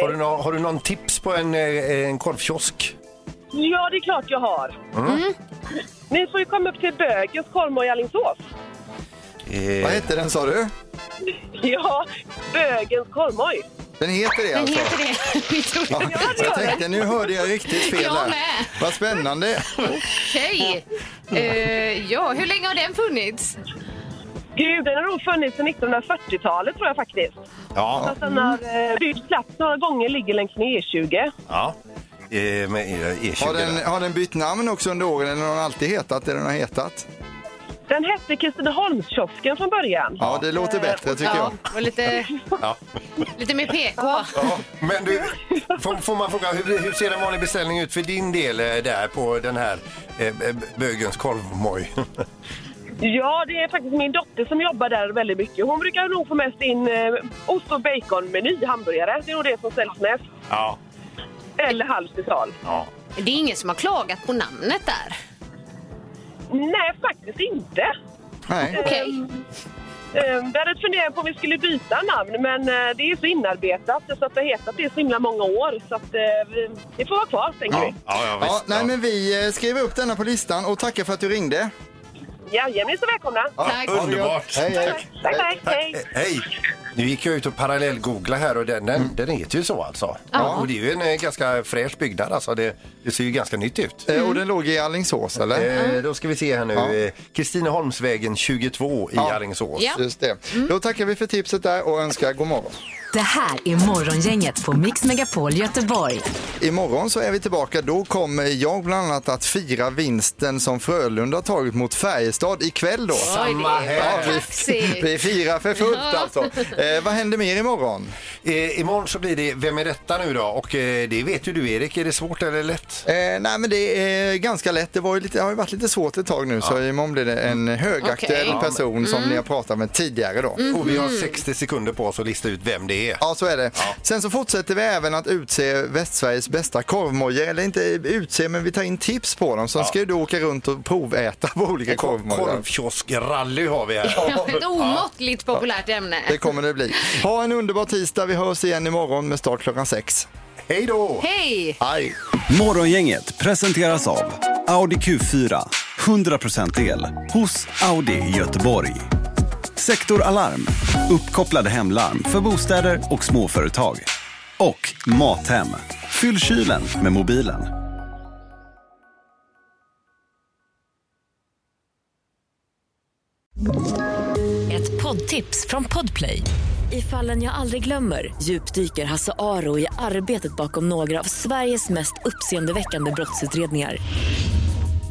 Speaker 3: har, du nå- har du någon tips på en, eh, en korvkiosk?
Speaker 11: Ja, det är klart jag har.
Speaker 3: Mm.
Speaker 11: Ni får ju komma upp till Bögens korvmoj i Alingsås.
Speaker 2: Vad hette den sa du?
Speaker 11: Ja, Bögens korvmoj.
Speaker 2: Den heter det alltså?
Speaker 4: det.
Speaker 2: Ja, jag tänkte, nu hörde jag riktigt fel
Speaker 4: Jag
Speaker 2: här.
Speaker 4: med.
Speaker 2: Vad spännande.
Speaker 4: Okej. Eh, ja, hur länge har den funnits?
Speaker 11: Gud, den har nog funnits sedan 1940-talet tror jag faktiskt.
Speaker 3: Ja.
Speaker 11: Fast den har eh, bytt plats några gånger, ligger längs med E E20.
Speaker 3: Ja. Eh, med E- E20
Speaker 2: Har den,
Speaker 3: där.
Speaker 2: har den bytt namn också under åren eller har den alltid hetat det den har hetat?
Speaker 11: Den hette Kristineholmskiosken från början.
Speaker 2: Ja, det låter bättre tycker jag.
Speaker 4: Och lite,
Speaker 3: Ja.
Speaker 4: lite mer PK.
Speaker 3: Ja, men du, får, får man fråga, hur, hur ser en vanlig beställning ut för din del eh, där på den här eh, Bögens korvmoj?
Speaker 11: Ja, det är faktiskt min dotter som jobbar där väldigt mycket. Hon brukar nog få mest in eh, ost och baconmeny, hamburgare. Det är nog det som säljs mest.
Speaker 3: Ja.
Speaker 11: Eller halv sisal.
Speaker 3: ja.
Speaker 4: Det är ingen som har klagat på namnet där.
Speaker 11: Nej, faktiskt inte.
Speaker 2: Nej.
Speaker 4: Okej.
Speaker 11: Um, vi hade funderat på om vi skulle byta namn, men eh, det är så inarbetat så att det har hetat det i så himla många år. Så att, eh, vi, det får vara kvar, tänker vi.
Speaker 2: Ja, nej, men vi eh, skriver upp denna på listan och tackar för att du ringde.
Speaker 11: Jajamän, ni är så välkomna.
Speaker 2: Ja, Tack. ha det gott. Underbart. Hej, hej.
Speaker 11: Tack, tack. tack. Hej.
Speaker 3: Eh, Hej! Nu gick jag ut och parallellgoogla här och den,
Speaker 2: Mm.
Speaker 3: den, den heter ju så alltså.
Speaker 2: Ja.
Speaker 3: Och det är ju en eh, ganska fräsch byggnad alltså. Det, det ser ju ganska nytt ut.
Speaker 2: Eh, Och den låg i Alingsås eller?
Speaker 3: Eh, då ska vi se här nu.
Speaker 2: Ja.
Speaker 3: Eh, Kristineholmsvägen 22 i Alingsås.
Speaker 5: Ja.
Speaker 2: Just det. Då tackar vi för tipset där och önskar god morgon.
Speaker 5: Det här är Morgongänget på Mix Megapol Göteborg.
Speaker 2: Imorgon så är vi tillbaka. Då kommer jag bland annat att fira vinsten som Frölunda har tagit mot Färjestad ikväll då.
Speaker 3: Samma här.
Speaker 2: vi, vi firar för fullt alltså. Eh, vad händer mer imorgon?
Speaker 3: Eh, imorgon så blir det Vem är detta nu då? Och eh, det vet ju du Erik, är det svårt eller lätt?
Speaker 2: Eh, nej men det är ganska lätt. Det, var ju lite, det har ju varit lite svårt ett tag nu så imorgon blir det en högaktuell
Speaker 3: Okej.
Speaker 2: person som
Speaker 3: Mm. Mm-hmm.
Speaker 2: ni har pratat med tidigare då.
Speaker 3: Och vi har 60 sekunder på oss att lista ut vem det är.
Speaker 2: Ja, så är det. Sen så fortsätter vi även att utse Västsveriges bästa korvmojor. Eller inte utse, men vi tar in tips på dem. Sen ska ju du åka runt och proväta på olika korvmojor.
Speaker 3: Korvkioskrally har vi här.
Speaker 4: Ja, ett omåttligt populärt ämne.
Speaker 2: Det kommer det bli. Ha en underbar tisdag. Vi hörs igen imorgon med start klockan sex.
Speaker 3: Hej då!
Speaker 4: Hej!
Speaker 2: Hej!
Speaker 12: Morgongänget presenteras av Audi Q4. 100% el hos Audi i Göteborg. Sektor Alarm. Uppkopplade hemlarm för bostäder och småföretag. Och Mathem. Fyll kylen med mobilen.
Speaker 13: Ett poddtips från Podplay. I fallen jag aldrig glömmer djupdyker Hasse Aro i arbetet bakom några av Sveriges mest uppseendeväckande brottsutredningar.